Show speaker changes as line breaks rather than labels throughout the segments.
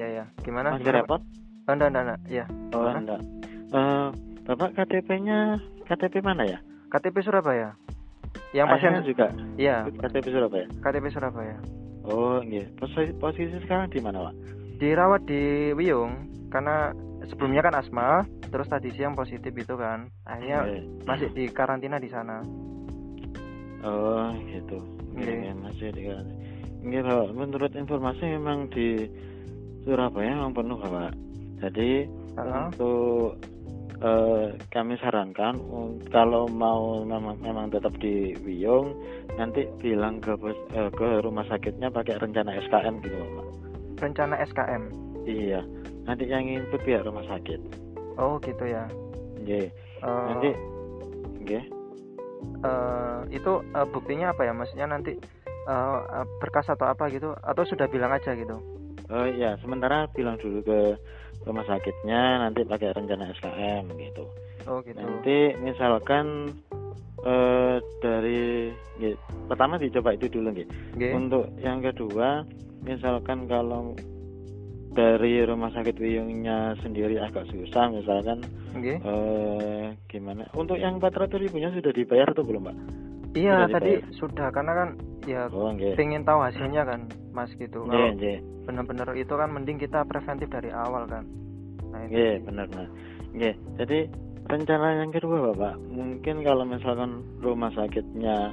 Ya, Gimana?
Masih repot?
Oh, enggak, enggak, enggak. Ya.
Oh,
Gimana?
enggak. Eh, Bapak KTP-nya KTP mana ya?
KTP Surabaya. Yang pasien
Ayahnya juga
Iya,
KTP Surabaya.
KTP Surabaya.
Oh, iya. Posisi, posisi sekarang di mana, Pak?
Dirawat di Wiyung karena sebelumnya kan asma, terus tadi siang positif itu kan. Akhirnya
Eh,
masih di karantina di sana.
Hmm. Oh, gitu. Iya,
Iya.
iya, masih di Iya, Pak. Menurut informasi memang di Surabaya memang penuh, Pak. Jadi,
Heeh.
untuk eh, kami sarankan un- kalau mau memang, memang tetap di Wiyung nanti bilang ke pos- eh, ke rumah sakitnya pakai rencana SKM gitu loh, Pak.
Rencana SKM.
Iya. Nanti yang input pihak rumah sakit.
Oh, gitu ya. Eh,
Iya. Nanti nggih.
eh, itu eh, buktinya apa ya? Maksudnya nanti eh, eh, berkas atau apa gitu atau sudah bilang aja gitu.
Oh iya, sementara bilang dulu ke rumah sakitnya nanti pakai rencana SKM gitu.
Oh, gitu.
Nanti misalkan eh dari nggih, pertama dicoba itu dulu nggih.
Nggih.
Untuk yang kedua, misalkan kalau dari rumah sakit Wiyungnya sendiri agak susah, misalkan
Nggih.
eh, gimana? Untuk yang 400 ribunya sudah dibayar atau belum, Pak?
Iya,
Sudah
tadi sudah karena kan ya
Oh, nggih.
pengen tahu hasilnya kan, Mas gitu.
Nggih,
Kalau
nggih.
bener-bener itu kan mending kita preventif dari awal kan. Nah, itu.
Iya benar benar. Iya jadi rencana yang kedua bapak mungkin kalau misalkan rumah sakitnya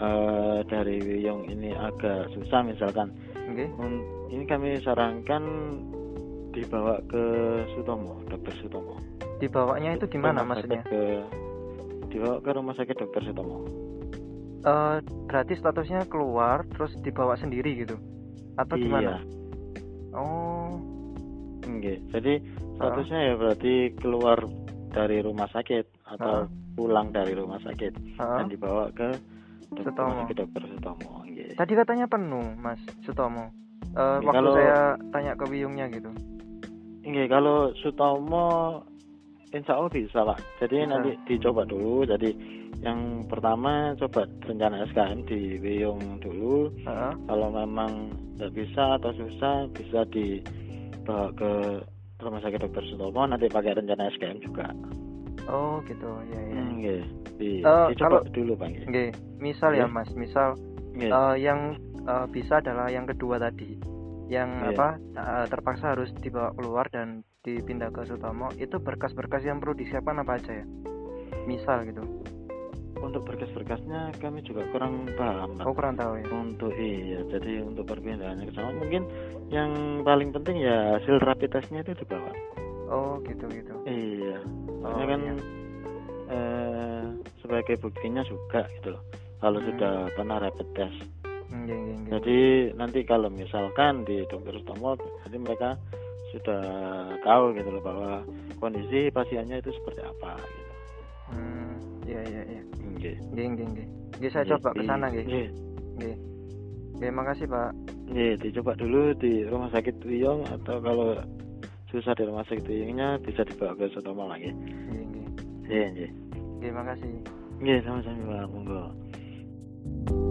eh, dari Wiyong ini agak susah misalkan
Nggih.
un- ini kami sarankan dibawa ke Sutomo dokter Sutomo.
Dibawanya Nah, itu gimana
Rumah sakit
maksudnya?
Ke, dibawa ke rumah sakit dokter Sutomo.
Eh, berarti statusnya keluar terus dibawa sendiri gitu. Atau
iya.
gimana? Oh,
Nggih. Jadi statusnya ya berarti keluar dari rumah sakit
Ah.
atau pulang dari rumah sakit
heeh.
dan dibawa ke dok-
Sutomo.
rumah sakit dokter Sutomo. Nggih.
Tadi katanya penuh, Mas Sutomo. Eh,
Nggih,
waktu
kalau-
saya tanya ke Wiyungnya gitu.
Iya, kalau Sutomo insya Allah bisa Pak. Jadi
Bisa.
nanti dicoba dulu. Jadi yang pertama coba rencana SKM di Wiyung dulu.
Heeh.
Kalau memang nggak bisa atau susah bisa dibawa ke rumah sakit dokter Sutomo nanti pakai rencana SKM juga.
Oh, gitu. Ya, ya.
Hmm, Iya. Di-
Eh,
dicoba
kalau-
dulu Pak. Iya.
Nggih. Misal ya,
Nggih.
Mas, misal
Iya.
Eh, yang eh, bisa adalah yang kedua tadi yang
Iya.
apa eh, terpaksa harus dibawa keluar dan dipindah ke Sutomo itu berkas-berkas yang perlu disiapkan apa aja ya misal gitu
Untuk berkas-berkasnya kami juga kurang paham Pak.
aku kurang tahu ya
Untuk iya, jadi untuk perpindahannya ke sana mungkin yang paling penting ya hasil rapid testnya itu dibawa.
oh gitu gitu
Iya, soalnya
Oh,
kan
iya.
eh, sebagai buktinya juga gitu loh. Kalau
Hmm.
sudah pernah rapid test,
Nggih, nggih, nggih.
jadi nanti kalau misalkan di dokter Sutomo, jadi mereka sudah tahu gitu loh bahwa kondisi pasiennya itu seperti apa gitu.
Hmm, iya iya iya
Nggih.
nggih nggih nggih Nggih, saya
Nggih,
coba ke
di-
sana nggih
nggih.
nggih nggih makasih pak
Nggih, dicoba dulu di rumah sakit Wiyong atau kalau susah di rumah sakit Wiyongnya bisa dibawa ke Sutomo lagi.
nggih nggih
Iya, iya.
nggih makasih
Nggih, sama-sama Pak. Monggo.